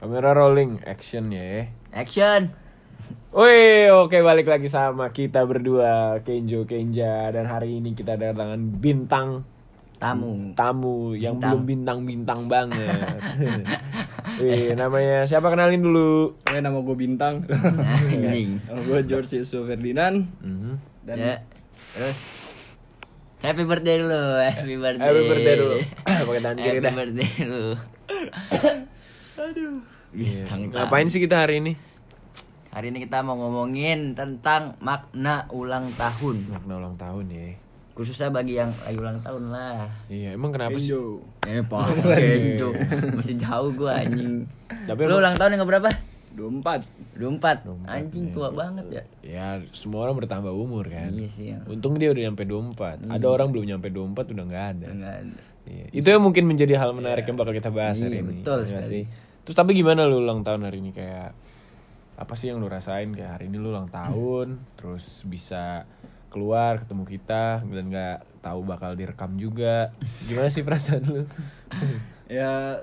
Kamera rolling, action ya. Action. Woi, oke balik lagi sama kita berdua Kenjo Kenja dan hari ini kita kedatangan bintang Tamu. Hmm. tamu yang Bintang. belum bintang-bintang banget. Wih, namanya siapa kenalin dulu? Eh, nama gue Bintang. Nah, Anjing. nama gue George Yusuf Ferdinand. Mhm. Dan Ya. Terus Happy birthday dulu, happy birthday. Happy birthday dulu. Pakai tangan kiri Happy dah. birthday dulu. Iya. Bintang tamu. Ngapain sih kita hari ini? Hari ini kita mau ngomongin tentang makna ulang tahun. Makna ulang tahun ya. Khususnya bagi yang lagi ulang tahun lah. Iya, emang kenapa sih? Kenjo. Eh, pas Kenjo. Masih jauh gua anjing. Tapi Lu emang- ulang tahun yang berapa? 24. 24. Anjing Iya. tua banget ya. Ya, semua orang bertambah umur kan. Iya Hmm. sih. ya. Untung dia udah nyampe 24. Ada orang belum nyampe 24 udah nggak ada. Enggak ada. Iya. Itu yang mungkin menjadi hal menarik yang bakal kita bahas hari Iya, ini. betul Iya nggak sekali. sih? Terus tapi gimana lu ulang tahun hari ini kayak apa sih yang lu rasain kayak hari ini lu ulang tahun, terus bisa keluar ketemu kita dan nggak tahu bakal direkam juga. Gimana sih perasaan lu? Ya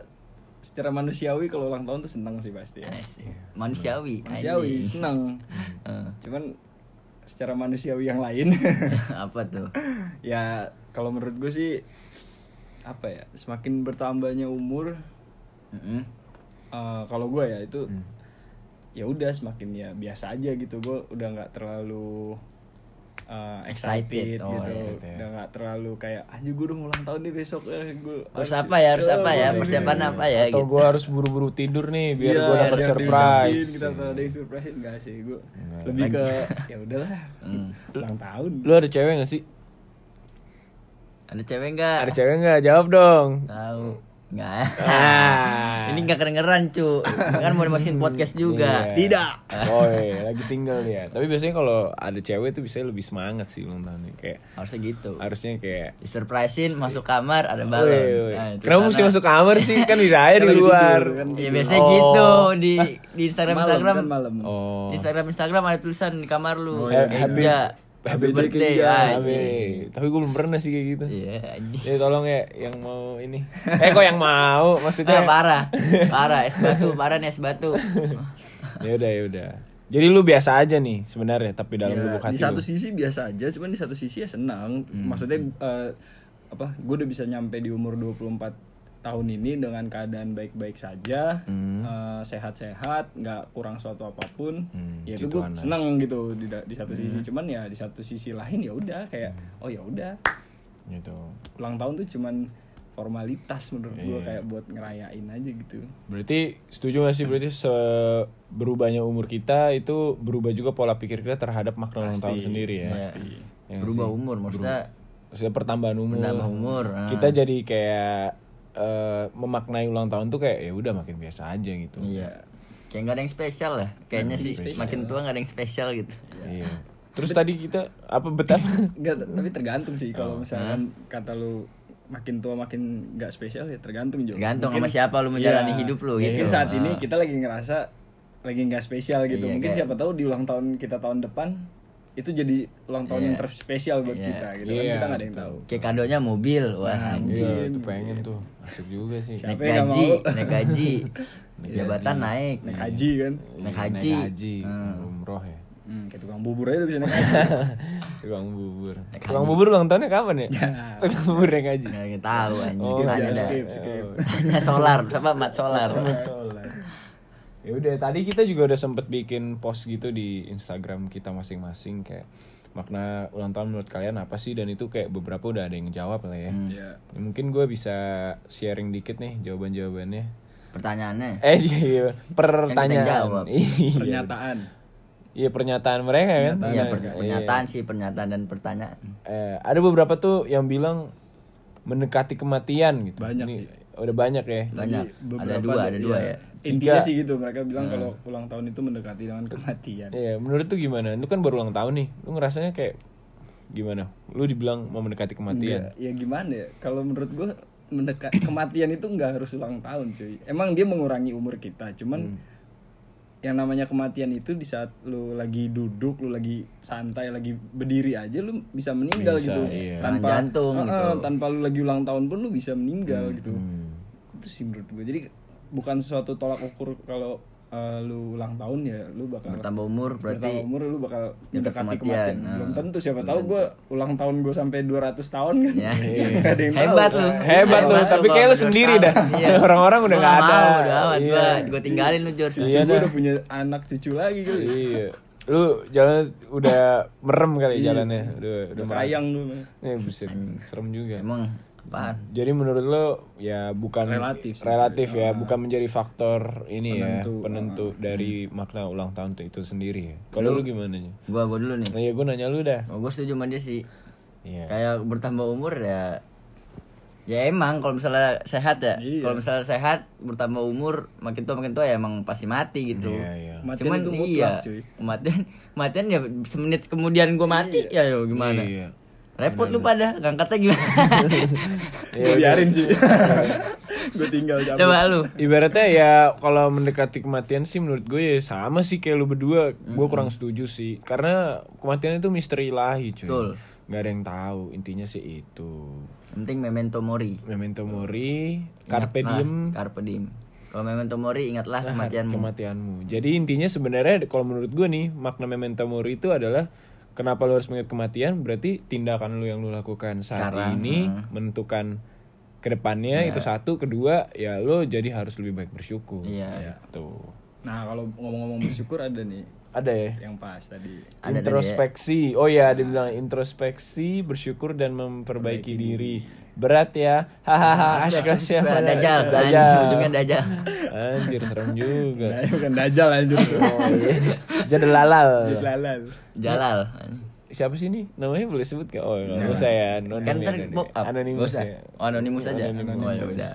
secara manusiawi kalau ulang tahun tuh senang sih pasti ya. Asik. Manusiawi. Manusiawi, senang. Eh, Cuman secara manusiawi yang lain apa tuh? ya kalau menurut gue sih apa ya semakin bertambahnya umur Mm-mm. eh, kalau gue ya itu Hmm. ya udah semakin ya biasa aja gitu gue udah nggak terlalu eh, Excited. excited, Oh, gitu excited ya. udah nggak terlalu kayak anjir gue udah ulang tahun nih besok eh, gua Harus apa ya, harus apa ya, gua- persiapan apa ya Iya. Atau gitu. gua harus buru-buru tidur nih biar Iya, gua dapat biar surprise. diucapin, gitu kita kan. tuh ada yang surprise enggak sih gue Enggak. lebih ke ya udahlah Hmm. ulang tahun Lu ada cewek gak sih? Ada cewek nggak? Ada cewek nggak? Jawab dong. Tahu. Nggak. Ah. Ini nggak kedengeran cu. Kan mau dimasukin podcast juga. Iya. Oh iya, lagi single ya. Tapi biasanya kalau ada cewek tuh bisa lebih semangat sih ulang tahunnya. Kayak Harusnya gitu. harusnya kayak Disurprisein masuk kamar ada Woi, balon. woi. Nah, itu Kenapa sana. mesti masuk kamar sih? Kan bisa aja di Kan lagi luar. tidur, kan Ya tidur. biasanya Oh. gitu di di Instagram malam Instagram. kan malam Oh. Di Instagram Instagram ada tulisan di kamar Oh, lu. iya. Kenja. Happy Happy day, birthday. Kenja. ah, Tapi, anjing. tapi gue belum pernah sih kayak gitu. Iya anjing. Ya tolong ya yang mau ini. Eh kok yang mau? Ah, Maksudnya parah, parah es batu, parah nih es batu. Ya udah ya udah. Jadi lu biasa aja nih sebenarnya tapi dalam Iya, Ya, lubuk di hati lu. satu Hmm. sisi biasa aja cuman di satu sisi ya senang maksudnya eh, apa gue udah bisa nyampe di umur 24 tahun ini dengan keadaan baik-baik saja eh, sehat-sehat nggak kurang suatu apapun Hmm, ya itu gitu gue anak. Hmm. senang gitu di, da- di satu sisi cuman ya di satu sisi lain ya udah kayak oh ya udah Gitu. ulang tahun tuh cuman formalitas menurut gue Iya. kayak buat ngerayain aja gitu Berarti setuju gak sih berarti se- berubahnya umur kita itu berubah juga pola pikir kita terhadap makna ulang tahun sendiri ya. Pasti. Ya nggak Berubah umur maksudnya Maksudnya pertambahan umur. Menambah umur, ah. Kita jadi kayak eh, memaknai ulang tahun tuh kayak ya udah makin biasa aja gitu. iya. Kayak nggak ada yang spesial lah. Kayaknya sih makin tua nggak ada yang spesial gitu. Iya. Terus tadi kita apa betapa? Enggak, t- tapi tergantung Oh, sih kalau misalkan ah. kata lu makin tua makin nggak spesial ya tergantung juga. iya, Tergantung sama siapa lu menjalani hidup lu gitu. Mungkin saat ini kita lagi ngerasa lagi nggak spesial gitu. Iya, mungkin kayak- siapa tahu di ulang tahun kita tahun depan itu jadi ulang tahun yang Iya. terspesial buat kita gitu kan Iya, kita nggak ada yang tahu. Kayak kadonya mobil, wah anjing. Iya, itu pengen tuh. Asik juga sih. Siapa Naik yang nggak gaji, mau? naik gaji, jabatan naik. Naik haji kan. Naik Iya, haji. Ah. Naik haji, umroh ya. Hmm, kayak tukang bubur aja udah bisa naik haji. Tukang bubur. Tukang bubur ulang tahunnya kapan ya? Tukang bubur naik haji. Nggak tahu anjing. Oh, Tanya ya, dah. skip, skip. Tanya solar, siapa mat solar? ya udah tadi kita juga udah sempet bikin post gitu di Instagram kita masing-masing kayak makna ulang tahun menurut kalian apa sih dan itu kayak beberapa udah ada yang jawab lah ya. Iya. Ya, Mungkin gue bisa sharing dikit nih jawaban-jawabannya. Pertanyaannya. Eh iya, iya, jawab. pertanyaan. Iya. Pernyataan. Iya pernyataan mereka kan. Iya, per- Iya. pernyataan sih, pernyataan dan pertanyaan. Eh, ada beberapa tuh yang bilang mendekati kematian gitu. Banyak Ini sih. Udah banyak ya. Banyak. Ada Beberapa dua, tuh, ada dua iya. ya. Intinya Tiga. sih gitu mereka Ah. bilang kalau ulang tahun itu mendekati dengan kematian. Iya, menurut tuh gimana? Lu kan baru ulang tahun nih. Lu ngerasanya kayak gimana? Lu dibilang mau mendekati kematian. Enggak, ya gimana ya? Kalau menurut gua mendekat kematian itu nggak harus ulang tahun, cuy. Emang dia mengurangi umur kita, cuman Hmm. yang namanya kematian itu di saat lu lagi duduk, lu lagi santai, lagi berdiri aja lu bisa meninggal Bisa, gitu. iya. Tanpa Serangan jantung Hmm, Eh, eh, tanpa lu lagi ulang tahun pun lu bisa meninggal gitu. Itu gitu. sih menurut gua. Jadi bukan suatu tolak ukur kalau eh, lu ulang tahun ya lu bakal bertambah umur bertambah berarti umur lu bakal dekat mendekati kematian, kematian. Nah, belum tentu siapa belum tahu tentu. gue ulang tahun gue sampai 200 tahun kan Ya. Nggak ada yang tahu. hebat lu Iya. Hebat lu, tapi kayak lu George sendiri Carlin. dah. Iya. Orang-orang udah Gua nggak ada. mau, udah amat Iya. gua gua tinggalin lu George Iya Cucu gue dah. udah punya anak cucu lagi kali Iya. Lu jalan udah merem kali ya jalannya. Udah udah udah merem. kayang dulu Ya buset, serem juga. emang apaan Jadi menurut lo ya bukan Relatif sih. Ah. relatif ya, bukan menjadi faktor ini ya Penentu. Ah. penentu dari makna ulang tahun itu sendiri ya. Kalau lu gimana nya? gua gua dulu nih Nah, ya gue nanya lu dah. oh, gua setuju sama dia sih Iya. kayak bertambah umur ya ya emang kalau misalnya sehat ya Iya. kalau misalnya sehat bertambah umur makin tua makin tua ya emang pasti mati gitu Iya, iya. Matian cuman itu mutlak, iya cuy. kematian kematian ya semenit kemudian gua mati ya yo gimana Iya. repot lu pada ngangkatnya gimana Iya, gue biarin sih gue tinggal cabut. coba lu Ibaratnya ya kalau mendekati kematian sih menurut gue ya sama sih kayak lu berdua. Gue kurang setuju sih karena kematian itu misteri ilahi cuy. Betul. Gak ada yang tahu intinya sih itu. Yang penting memento mori Memento mori, carpe Ingatlah, diem, carpe diem kalau memento mori ingatlah kematianmu kematianmu. Jadi intinya sebenarnya kalau menurut gue nih makna memento mori itu adalah kenapa lu harus mengingat kematian berarti tindakan lu yang lu lakukan saat Sekarang, ini menentukan kedepannya itu satu kedua ya lu jadi harus lebih baik bersyukur Iya. tuh nah kalau ngomong-ngomong bersyukur ada nih ada ya yang pas tadi Ada tadi ya. introspeksi oh ya dia bilang introspeksi bersyukur dan memperbaiki diri berat ya hahaha asyik asyik dajal Dajjal. ujungnya dajal anjir serem juga nah, bukan dajal anjir Oh, iya. Jadalalal. lalal jalal Siapa sih ini? Namanya boleh sebut gak? Oh, nggak usah ya. No kan name, ntar no name. pop up Anonymous Gak usah. ya. oh, anonimus aja oh, ya udah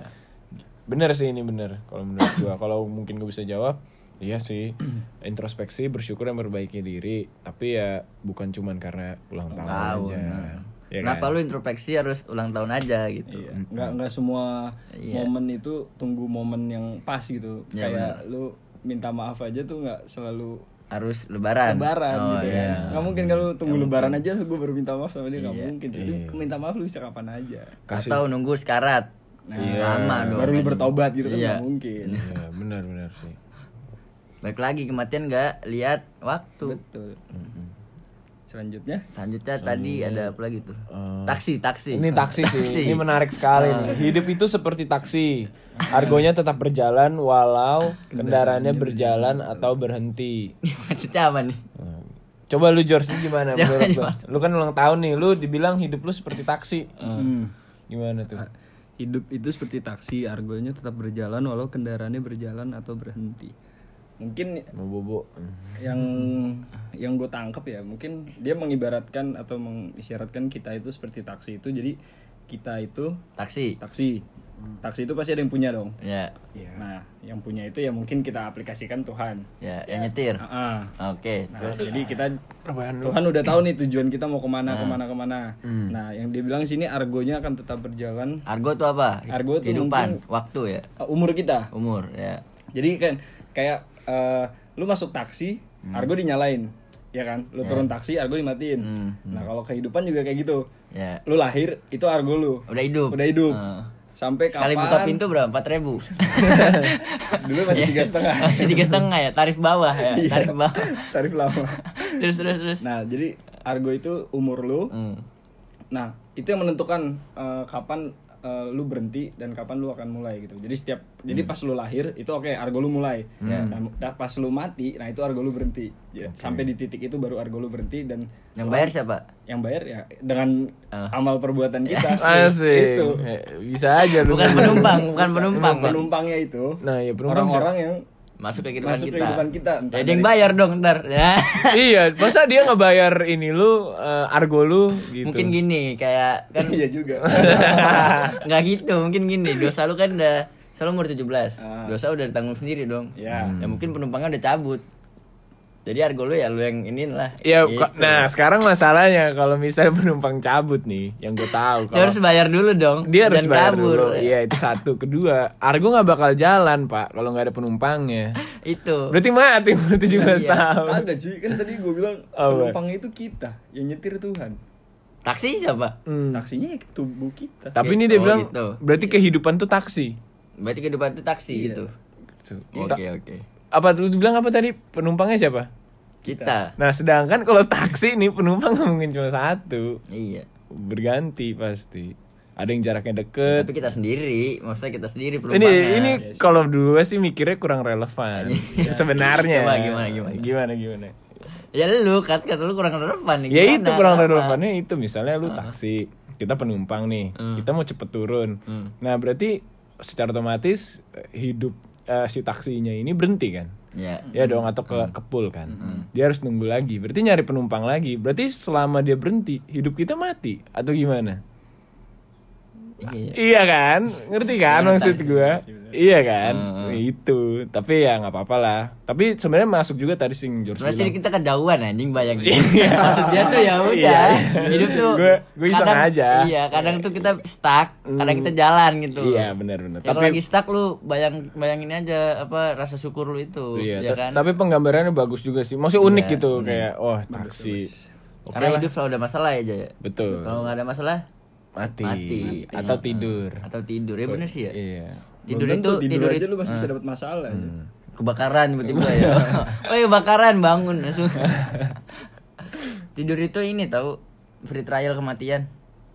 Bener sih ini bener. Kalau menurut gua, kalau mungkin gua bisa jawab, iya sih. Introspeksi, bersyukur dan memperbaiki diri. Tapi ya bukan cuman karena ulang tahun, tahun, aja. nah. Ya kenapa kan? lu introspeksi harus ulang tahun aja gitu Iya. nggak nggak semua Iya. momen itu tunggu momen yang pas gitu Iya, kayak lu minta maaf aja tuh nggak selalu harus lebaran lebaran oh, gitu iya. ya nggak mungkin kalau tunggu lebaran aja gue baru minta maaf sama dia nggak mungkin jadi Iya. minta maaf lu bisa kapan aja Kasih- Nah, atau nunggu sekarat Iya. lama dong baru lu bertobat gitu kan Iya. nggak mungkin Iya, bener bener sih. balik lagi kematian nggak lihat waktu betul selanjutnya selanjutnya tadi ada apa lagi tuh taksi taksi Eh, Ini taksi sih. Ini menarik sekali nih. Hidup itu seperti taksi. Argonya tetap berjalan walau kendaraannya berjalan atau berhenti. Ah. maksudnya apa nih Coba lu George ini gimana Jangan menurut lu? Lu kan ulang tahun nih, lu dibilang hidup lu seperti taksi. Gimana Ah. tuh? hidup itu seperti taksi argonya tetap berjalan walau kendaraannya berjalan atau berhenti mungkin Mau bobo. yang yang gue tangkap ya mungkin dia mengibaratkan atau mengisyaratkan kita itu seperti taksi itu jadi kita itu taksi taksi taksi itu pasti ada yang punya dong ya nah yang punya itu ya mungkin kita aplikasikan Tuhan ya yang nyetir Ah, ah. oke Nah, jadi kita Apaan lu? Tuhan udah tahu nih tujuan kita mau kemana kemana kemana Hmm. nah yang dibilang sini argonya akan tetap berjalan argo tuh apa Argo tuh kehidupan waktu ya uh, umur kita umur ya Jadi kan kayak eh, lu masuk taksi, Hmm. argo dinyalain, ya kan? Lu turun taksi, argo dimatiin. Hmm, Nah kalau kehidupan juga kayak gitu. ya Lu lahir, itu argo lu. udah hidup Udah hidup. Ah. Sampai sekali kapan? buka pintu Iya. berapa empat ribu Dulu masih tiga setengah. tiga setengah ya tarif bawah ya Iya. tarif bawah Tarif lama. terus terus terus Nah jadi argo itu umur lu. Hmm. Nah itu yang menentukan eh, kapan eh, lu berhenti dan kapan lu akan mulai gitu. Jadi setiap jadi Hmm. pas lu lahir itu oke argo lu mulai. Nah, dah pas lu mati, nah itu argo lu berhenti. Ya, Sampai di titik itu baru argo lu berhenti dan yang bayar siapa yang bayar ya dengan Ah. amal perbuatan kita Asik. itu Eh, Bisa aja lu. bukan penumpang bukan penumpang penumpangnya itu Nah, ya penumpang. Eh, orang-orang yang masuk ke kehidupan Masuk kita kehidupan kita, Ya, entah ada yang bayar dong ntar ya iya, masa dia nggak bayar ini lu eh, argo lu gitu. mungkin gini kayak kan iya juga nggak gitu mungkin gini dosa lu kan udah dosa lu umur 17 Ah. dosa udah ditanggung sendiri dong Ya. ya mungkin penumpangnya udah cabut jadi argo lu ya lu yang ini lah Ya, Gitu. ka- nah sekarang masalahnya kalau misalnya penumpang cabut nih, yang gue tahu Dia kalau harus bayar dulu dong dia harus jangan bayar kabur. ya. dulu. Iya itu satu. Kedua, Argo nggak bakal jalan pak kalau nggak ada penumpangnya. itu Berarti mati Iya. umur 17 tahun. kagak cuy kan tadi gue bilang Apa? penumpangnya itu kita yang nyetir Tuhan taksi siapa Hmm. taksinya ya tubuh kita Tapi ini dia Gitu, bilang gitu. berarti kehidupan tuh taksi. berarti kehidupan itu taksi gitu gitu. Oke oke. Apa lu bilang apa tadi? Penumpangnya siapa? Kita. Nah, sedangkan kalau taksi nih penumpang nggak mungkin cuma satu. Iya. Berganti pasti. Ada yang jaraknya deket. Tapi kita sendiri, maksudnya kita Eh. sendiri Ini penumpangnya. ini kalau dua sih mikirnya kurang relevan. Sebenarnya. Iya. Coba gimana, gimana? Gimana gimana? Ya lu kat kata lu kurang relevan nih. Ya Gimana? Ah. itu kurang Kenapa? relevannya itu misalnya lu taksi, kita penumpang nih. Hmm. Kita mau cepet turun. Nah, berarti secara otomatis eh, hidup eh, si taksinya ini berhenti kan? Ya. ya dong atau ke kepul kan Hmm. dia harus nunggu lagi berarti nyari penumpang lagi berarti selama dia berhenti hidup kita mati atau gimana Iya. Hmm, iya kan ngerti kan maksud gua iya kan itu tapi ya nggak apa-apa lah tapi sebenarnya masuk juga tadi sing George Sebenarnya bilang kita kejauhan anjing bayangin. Maksud dia tuh ya udah. Iya. Hidup tuh. Gua- gua iseng kadang- aja. Iya, kadang tuh kita stuck, kadang kita jalan gitu. iya benar-benar Ya, kalau tapi lagi stuck lu bayang bayangin aja apa rasa syukur lu itu, iya, ya ta- kan? tapi penggambarannya bagus juga sih maksudnya unik Iya, gitu kayak oh taksi oke Karena lah hidup selalu ada masalah aja ya. betul Kalau nggak ada masalah mati. Mati. atau tidur atau tidur ya bener sih ya. iya Tidur Belum itu tentu, tidur Ah. tidur, Hmm. aja itu lu masih bisa dapat masalah ya. aja. kebakaran tiba-tiba ya. oh iya bakaran bangun langsung. tidur itu ini tahu free trial kematian.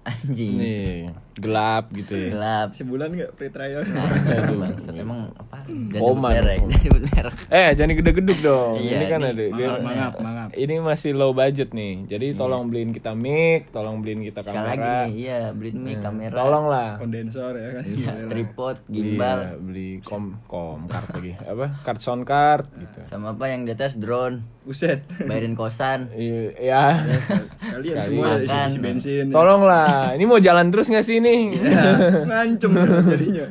Anjing. nih gelap gitu ya Gelap. Sebulan nggak free trial? Nah. Bangsat Iya, emang apa? Jangan Oman. nyebut merek, jangan nyebut merek. Eh, jangan gede-geduk dong. Iya, ini kan ini ada. mangap, dia- mangap, mangap. ini masih low budget nih. Jadi tolong beliin kita mic, tolong beliin kita Iya. Sekali lagi kamera. nih, iya, beli mic, kamera, Tolonglah. Kondensor ya kan. iya, tripod, gimbal, Iya, beli kom kom card lagi. Apa? Card sound card gitu. sama apa yang di atas drone, Buset. bayarin kosan. Iya, ya. Sekalian semua ada Makan. isi bensin. ya. Tolonglah. Ini mau jalan terus nggak sih ini? Ngancem kan jadinya.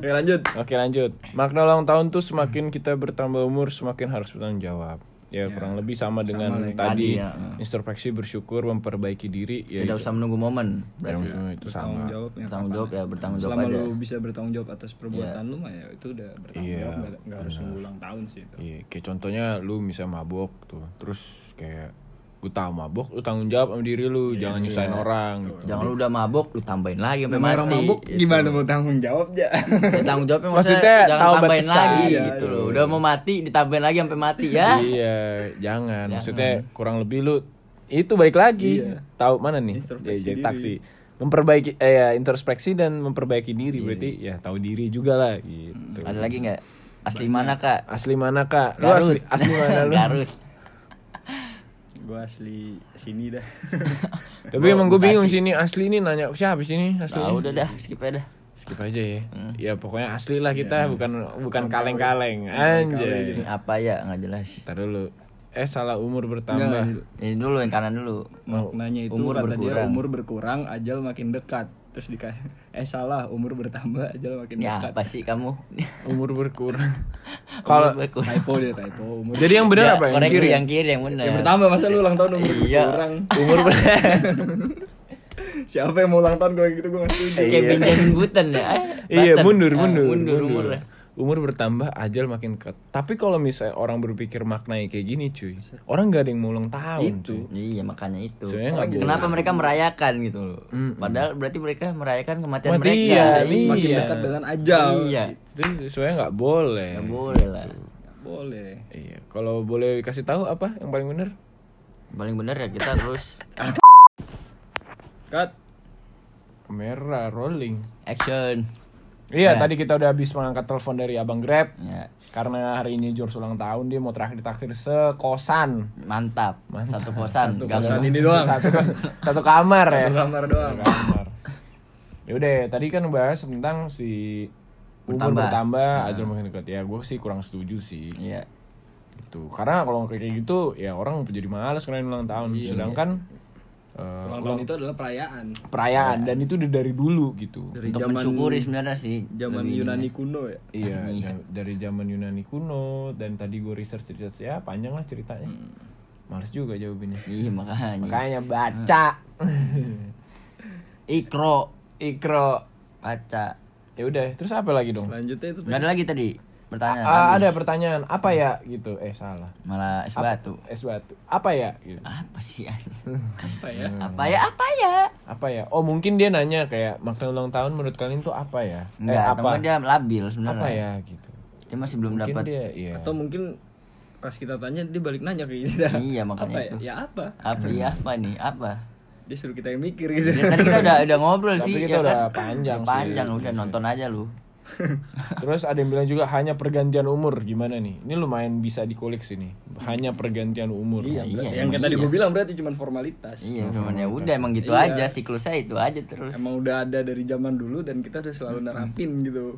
Oke lanjut. Oke, lanjut. Makna ulang tahun tuh semakin kita bertambah umur, semakin harus bertanggung jawab. Ya, kurang lebih sama dengan tadi. Tadi, ya. Introspeksi, bersyukur, memperbaiki diri, ya Tidak usah menunggu momen. Yang semua itu sama. Tanggung jawabnya. Bertanggung jawab ya, bertanggung jawab Selama aja. Iya. lu bisa bertanggung jawab atas perbuatan lu mah ya itu udah bertanggung Iya, jawab nggak- nggak harus nunggu ulang tahun sih itu. Iya, kayak contohnya lu bisa mabok tuh. Terus kayak lu tahu mabok, lu tanggung jawab sama diri lu, Iya, jangan nyusahin orang gitu. Jangan lu udah mabok, lu tambahin lagi sampai Sama mati. orang mabuk gimana mau tanggung jawab ya? Ya, tanggung jawabnya maksudnya, Maksudnya jangan tahu tambahin batasan. lagi Iya, gitu loh. Udah mau mati ditambahin lagi sampai mati ya. Iya, jangan. Maksudnya kurang lebih lu itu balik lagi. Tahu mana nih? Jadi, Iya. Introspeksi jadi diri. taksi. Memperbaiki eh ya, introspeksi dan memperbaiki diri Iya. berarti ya tahu diri juga lah gitu. Ada lagi nggak? Asli mana kak? Asli mana Kak? Lu Garut. asli, asli mana lu? Garut. Gua asli sini dah. Tapi emang gue bingung sini asli ini nanya siapa sih ini asli. Nah, udah dah, skip aja dah. Skip aja ya. Hmm. Ya pokoknya asli lah Iya. kita, bukan bukan kaleng-kaleng. Anjay. Ini apa ya nggak jelas. Ntar dulu. Eh salah umur bertambah. Ini dulu yang kanan dulu. Maknanya itu Umur kata dia berkurang. umur berkurang, ajal makin dekat. Terus di eh salah, umur bertambah, ajal makin Ini dekat. Ya, apa sih kamu? Umur berkurang. Kalau Umur berkurang. Typo dia typo, umur jadi yang benar Ya, apa yang koreksi kiri? yang kiri yang benar. Ya bertambah masa lu ulang tahun umur Iya. berkurang. Umur ber- Siapa yang mau ulang tahun kalau gitu gua enggak setuju. Kayak Benjamin Button ya. eh, Iya, Button. mundur, Ah, mundur, mundur, mundur. umurnya. Umur bertambah ajal makin ke. Tapi kalau misalnya orang berpikir maknanya kayak gini, cuy. Orang gak ada yang mau ulang tahun, cuy. Iya makanya itu. Sebenarnya nggak boleh. Kenapa mereka merayakan gitu loh? Padahal berarti mereka merayakan kematian Mati, mereka. ya, Iya, Makin Iya. dekat dengan ajal. Iya. Itu sebenarnya nggak boleh. Nggak boleh lah. Nggak Boleh. Iya, kalau boleh kasih tahu apa yang paling benar? Paling benar ya kita terus Cut. Kamera rolling. action. Iya, tadi kita udah habis mengangkat telepon dari Abang Grab. Ya, Karena hari ini George ulang tahun, dia mau terakhir takdir sekosan. mantap. Satu kosan. Satu Gak kosan ada- ini doang. Satu, kan, satu kamar ya. Satu kamar doang. Satu kamar. Yaudah, tadi kan bahas tentang si umur Bertambah. bertambah, Nah. ajal makin dekat. Ya, gue sih kurang setuju sih. Iya. Gitu. Karena kalau kayak gitu, ya orang jadi males karena ulang tahun. Iya, Sedangkan eh, Ulang tahun itu adalah perayaan. perayaan dan itu udah dari dulu gitu. Dari Untuk zaman mensyukuri sebenarnya sih. zaman Yunani kuno ya. Iya, da- dari zaman Yunani kuno dan tadi gue research research ya panjang lah ceritanya. Hmm. Males juga jawabinnya. Iya makanya. Makanya baca. Ikro, Ikro. baca. Ya udah, terus apa lagi dong? Selanjutnya itu Gak ada lagi tadi. Ah, Pertanyaan bagus. ada pertanyaan apa ya gitu eh salah Malah es Apa- batu. es batu apa ya gitu Apa sih? An? apa ya apa ya? Apa ya? apa ya oh mungkin dia nanya kayak makna ulang tahun menurut kalian tuh apa ya Enggak, eh, apa temen dia labil sebenarnya. apa ya gitu Dia masih belum mungkin dapat. dia iya atau mungkin pas kita tanya dia balik nanya kayak kita Iya, makanya apa itu. ya? ya apa Apa ya? Apa nih? Apa? dia suruh kita yang mikir gitu Ya, tadi kita udah udah ngobrol Tapi sih, kita ya udah kan? panjang udah sih. panjang, udah nonton aja lu. terus ada yang bilang juga hanya pergantian umur gimana nih ini lumayan bisa dikulik sini hanya pergantian umur iya, Iya, berarti yang emang kayak tadi iya. gue bilang berarti cuma formalitas Iya, cuman ya udah emang gitu Iya. aja siklusnya itu aja terus. emang udah ada dari zaman dulu dan kita udah selalu nerapin gitu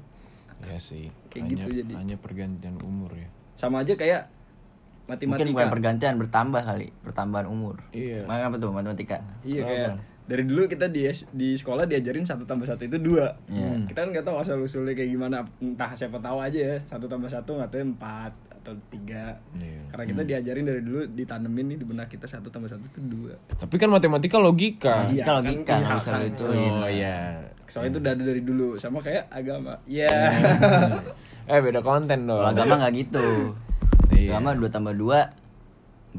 ya sih Kayak hanya, gitu jadi. hanya pergantian umur ya sama aja kayak Mungkin bukan matematika pergantian bertambah kali, pertambahan umur. Iya. Makanya apa tuh matematika? iya kayak dari dulu kita di di sekolah diajarin satu tambah satu itu dua Iya. kita kan nggak tahu asal usulnya kayak gimana entah siapa tahu aja ya satu tambah satu nggak tahu ya, empat atau tiga Iya. karena kita Hmm. diajarin dari dulu ditanemin nih di benak kita satu tambah satu itu dua tapi kan matematika logika Iya, Iya, kan, logika iya, nggak usah kan. lu itu. oh ya Iya. soalnya itu udah ada dari dulu sama kayak agama ya eh beda konten dong Kalau agama nggak gitu. Iya. Agama 2 tambah 2 4.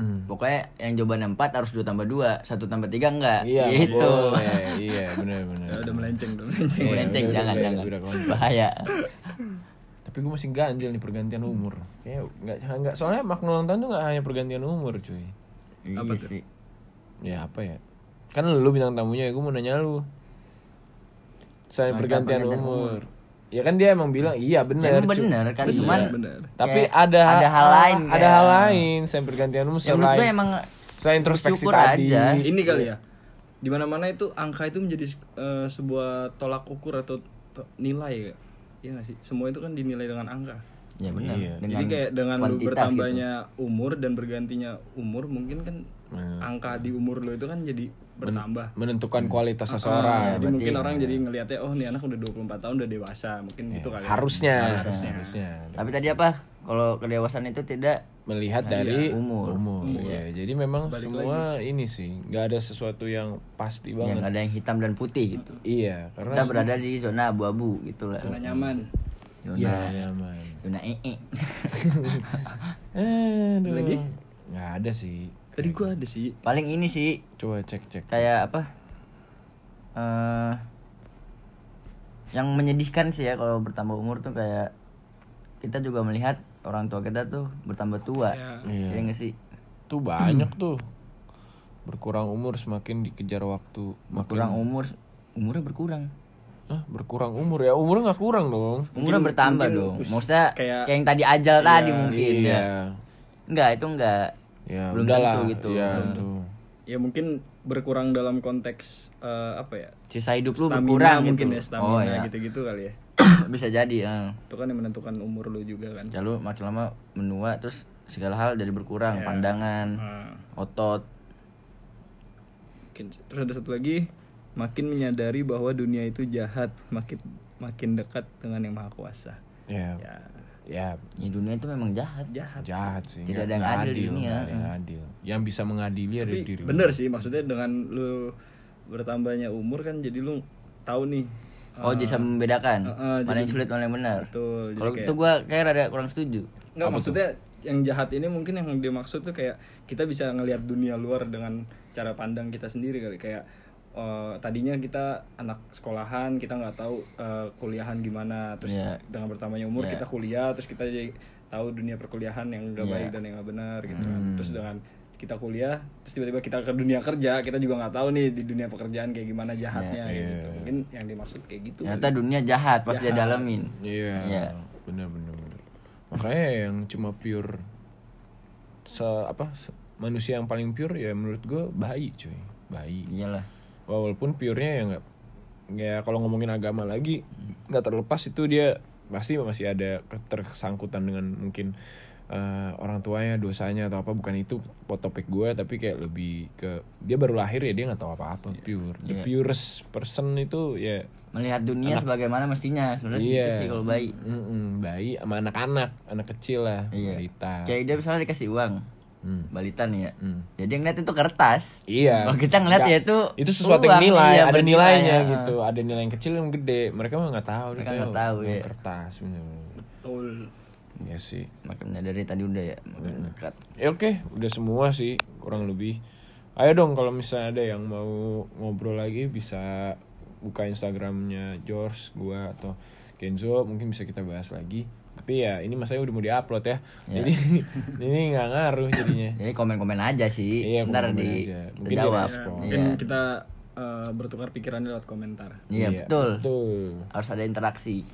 Hmm. Pokoknya yang jawaban 4 harus 2 tambah 2, 1 tambah 3 enggak. iya gitu. boleh. iya benar benar Ya, udah melenceng udah melenceng Iya, Melenceng, udah, jangan udah, jangan. udah, udah, udah. Bahaya. tapi gue masih ganjil nih pergantian umur kayak nggak nggak soalnya makna ulang tahun tuh nggak hanya pergantian umur cuy Apa Iya sih? ya apa ya kan lu bintang tamunya ya gue mau nanya lu selain Mantap, pergantian pergantian umur ya kan dia emang bilang iya Ya, benar emang bener kan Bener, cuman bener. tapi kayak ada ada hal ah, lain ada kayak- hal lain selain pergantian umur Ya, menurut gue selain emang selain introspeksi bersyukur tadi aja. ini kali ya dimana mana itu angka itu menjadi eh, sebuah tolak ukur atau to- nilai ya Iya nggak sih semua itu kan dinilai dengan angka ya benar. Iya. Dengan jadi kayak dengan lu kuantitas gitu. bertambahnya umur dan bergantinya umur mungkin kan Nah. angka di umur lo itu kan jadi bertambah menentukan kualitas Hmm. Nah, Iya, Ah, seseorang jadi mungkin orang jadi ngelihatnya oh nih anak udah 24 tahun udah dewasa mungkin Iya, gitu kali harusnya Harusnya. harusnya gitu. Tapi tadi apa? Kalau kedewasaan itu tidak ya melihat dari Nah, iya, umur. ya jadi memang semua ini sih nggak ada sesuatu yang pasti yang banget ada yang hitam dan putih gitu. iya Kita karena berada di zona abu-abu gitu lah. Iya. zona nyaman Zona nyaman zona ee. eh lagi nggak ada sih tadi gua ada sih Paling ini sih coba cek cek kayak apa? eh yang menyedihkan sih ya kalau bertambah umur tuh kayak kita juga melihat orang tua kita tuh bertambah tua. Ya, Iya. Iya nggak sih? tuh banyak tuh berkurang umur semakin dikejar waktu makin Berkurang umur, umurnya berkurang. ah berkurang umur ya umurnya nggak kurang dong Umurnya bertambah mungkin dong. us- Maksudnya kayak, kayak- yang tadi ajal tadi mungkin ya. iya Enggak, itu enggak. ya Belum udahlah tentu gitu. ya tuh ya mungkin berkurang dalam konteks eh, apa ya Sisa hidup lu stamina berkurang mungkin gitu. ya stamina oh ya. gitu-gitu kali ya Bisa jadi, eh. itu kan yang menentukan umur lo juga kan Ya lu makin lama menua terus segala hal jadi Iya. berkurang, pandangan, Ah, otot. mungkin terus ada satu lagi makin menyadari bahwa dunia itu jahat makin makin dekat dengan yang maha kuasa ya ya ya Ya dunia itu memang jahat. jahat jahat sih Tidak nggak- ada yang nggak adil di dunia. nggak ada yang adil yang bisa mengadili ada Tapi diri lu. bener sih maksudnya dengan lu bertambahnya umur kan jadi lu tahu nih Ah. Oh, jadi bisa membedakan eh, eh, mana yang sulit, mana yang benar. betul jadi Kalau kayak itu gua kayak rada kurang setuju. nggak maksudnya yang jahat ini mungkin yang dimaksud tuh kayak kita bisa ngelihat dunia luar dengan cara pandang kita sendiri kali kayak eh, tadinya kita anak sekolahan kita nggak tahu eh, kuliahan gimana terus Iya. dengan bertambahnya umur Iya. kita kuliah terus kita jadi tahu dunia perkuliahan yang nggak baik dan yang nggak benar gitu kan Hmm. terus dengan kita kuliah terus tiba-tiba kita ke dunia kerja kita juga nggak tahu nih di dunia pekerjaan kayak gimana jahatnya Iya, gitu mungkin yang dimaksud kayak gitu Ternyata dunia jahat pas dia dalamin. Iya. Iya. Bener bener bener. Makanya yang cuma pure se apa se- manusia yang paling pure ya menurut gue bayi cuy bayi Iyalah. walaupun purenya ya nggak ya kalau ngomongin agama lagi nggak terlepas itu dia pasti masih ada ketersangkutan dengan mungkin eh, orang tuanya dosanya atau apa bukan itu topik gue tapi kayak lebih ke dia baru lahir ya dia nggak tahu apa-apa pure the purest person itu ya Melihat dunia sebagaimana mestinya. Sebenarnya Iya. gitu sih kalau baik. Mm-mm, bayi sama anak-anak, anak kecil lah, Iya. balita. Kayak dia misalnya dikasih uang Ah. Hmm. balita nih ya. Hmm. Jadi yang lihat itu kertas. Iya. Kalau kita ngeliat Nggak- ya itu itu sesuatu uang, yang nilai, iya, ada bernilai, nilainya ah. gitu, ada nilai yang kecil yang gede. Mereka mah nggak tahu. Mereka dia nggak tahu, uang iya. Kertas bener. Betul. Iya sih. Makanya dari tadi udah ya. makanya kerat. Ya oke, udah semua sih kurang lebih. Ayo dong kalau misalnya ada yang mau ngobrol lagi bisa buka Instagramnya George, gua atau Kenzo mungkin bisa kita bahas lagi. Tapi ya ini masanya udah mau diupload ya. Iya. Jadi ini nggak ngaruh jadinya. Jadi komen-komen aja sih. Iya, Ntar komen-komen di aja. kita Mungkin jawab. direspon. Iya. Ya, Mungkin kita eh, bertukar pikiran lewat komentar. Iya, betul. Betul. Harus ada interaksi.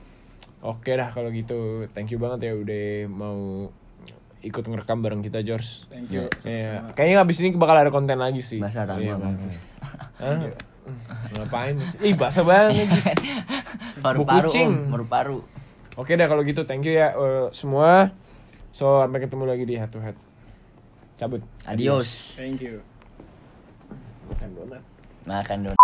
Oke dah kalau gitu. Thank you banget ya udah mau ikut ngerekam bareng kita George. Thank you. Iya. Kayaknya abis ini bakal ada konten lagi sih. Bahasa tamu Iya, apa? Bang. Hah? Ngapain sih? Ih, basah banget. Jis. Buku Paru-paru, kucing. Om. paru-paru. Oke dah kalau gitu, thank you ya eh, semua. So, sampai ketemu lagi di Head to Head. Cabut. Adios. Thank you. Adios. Makan donat.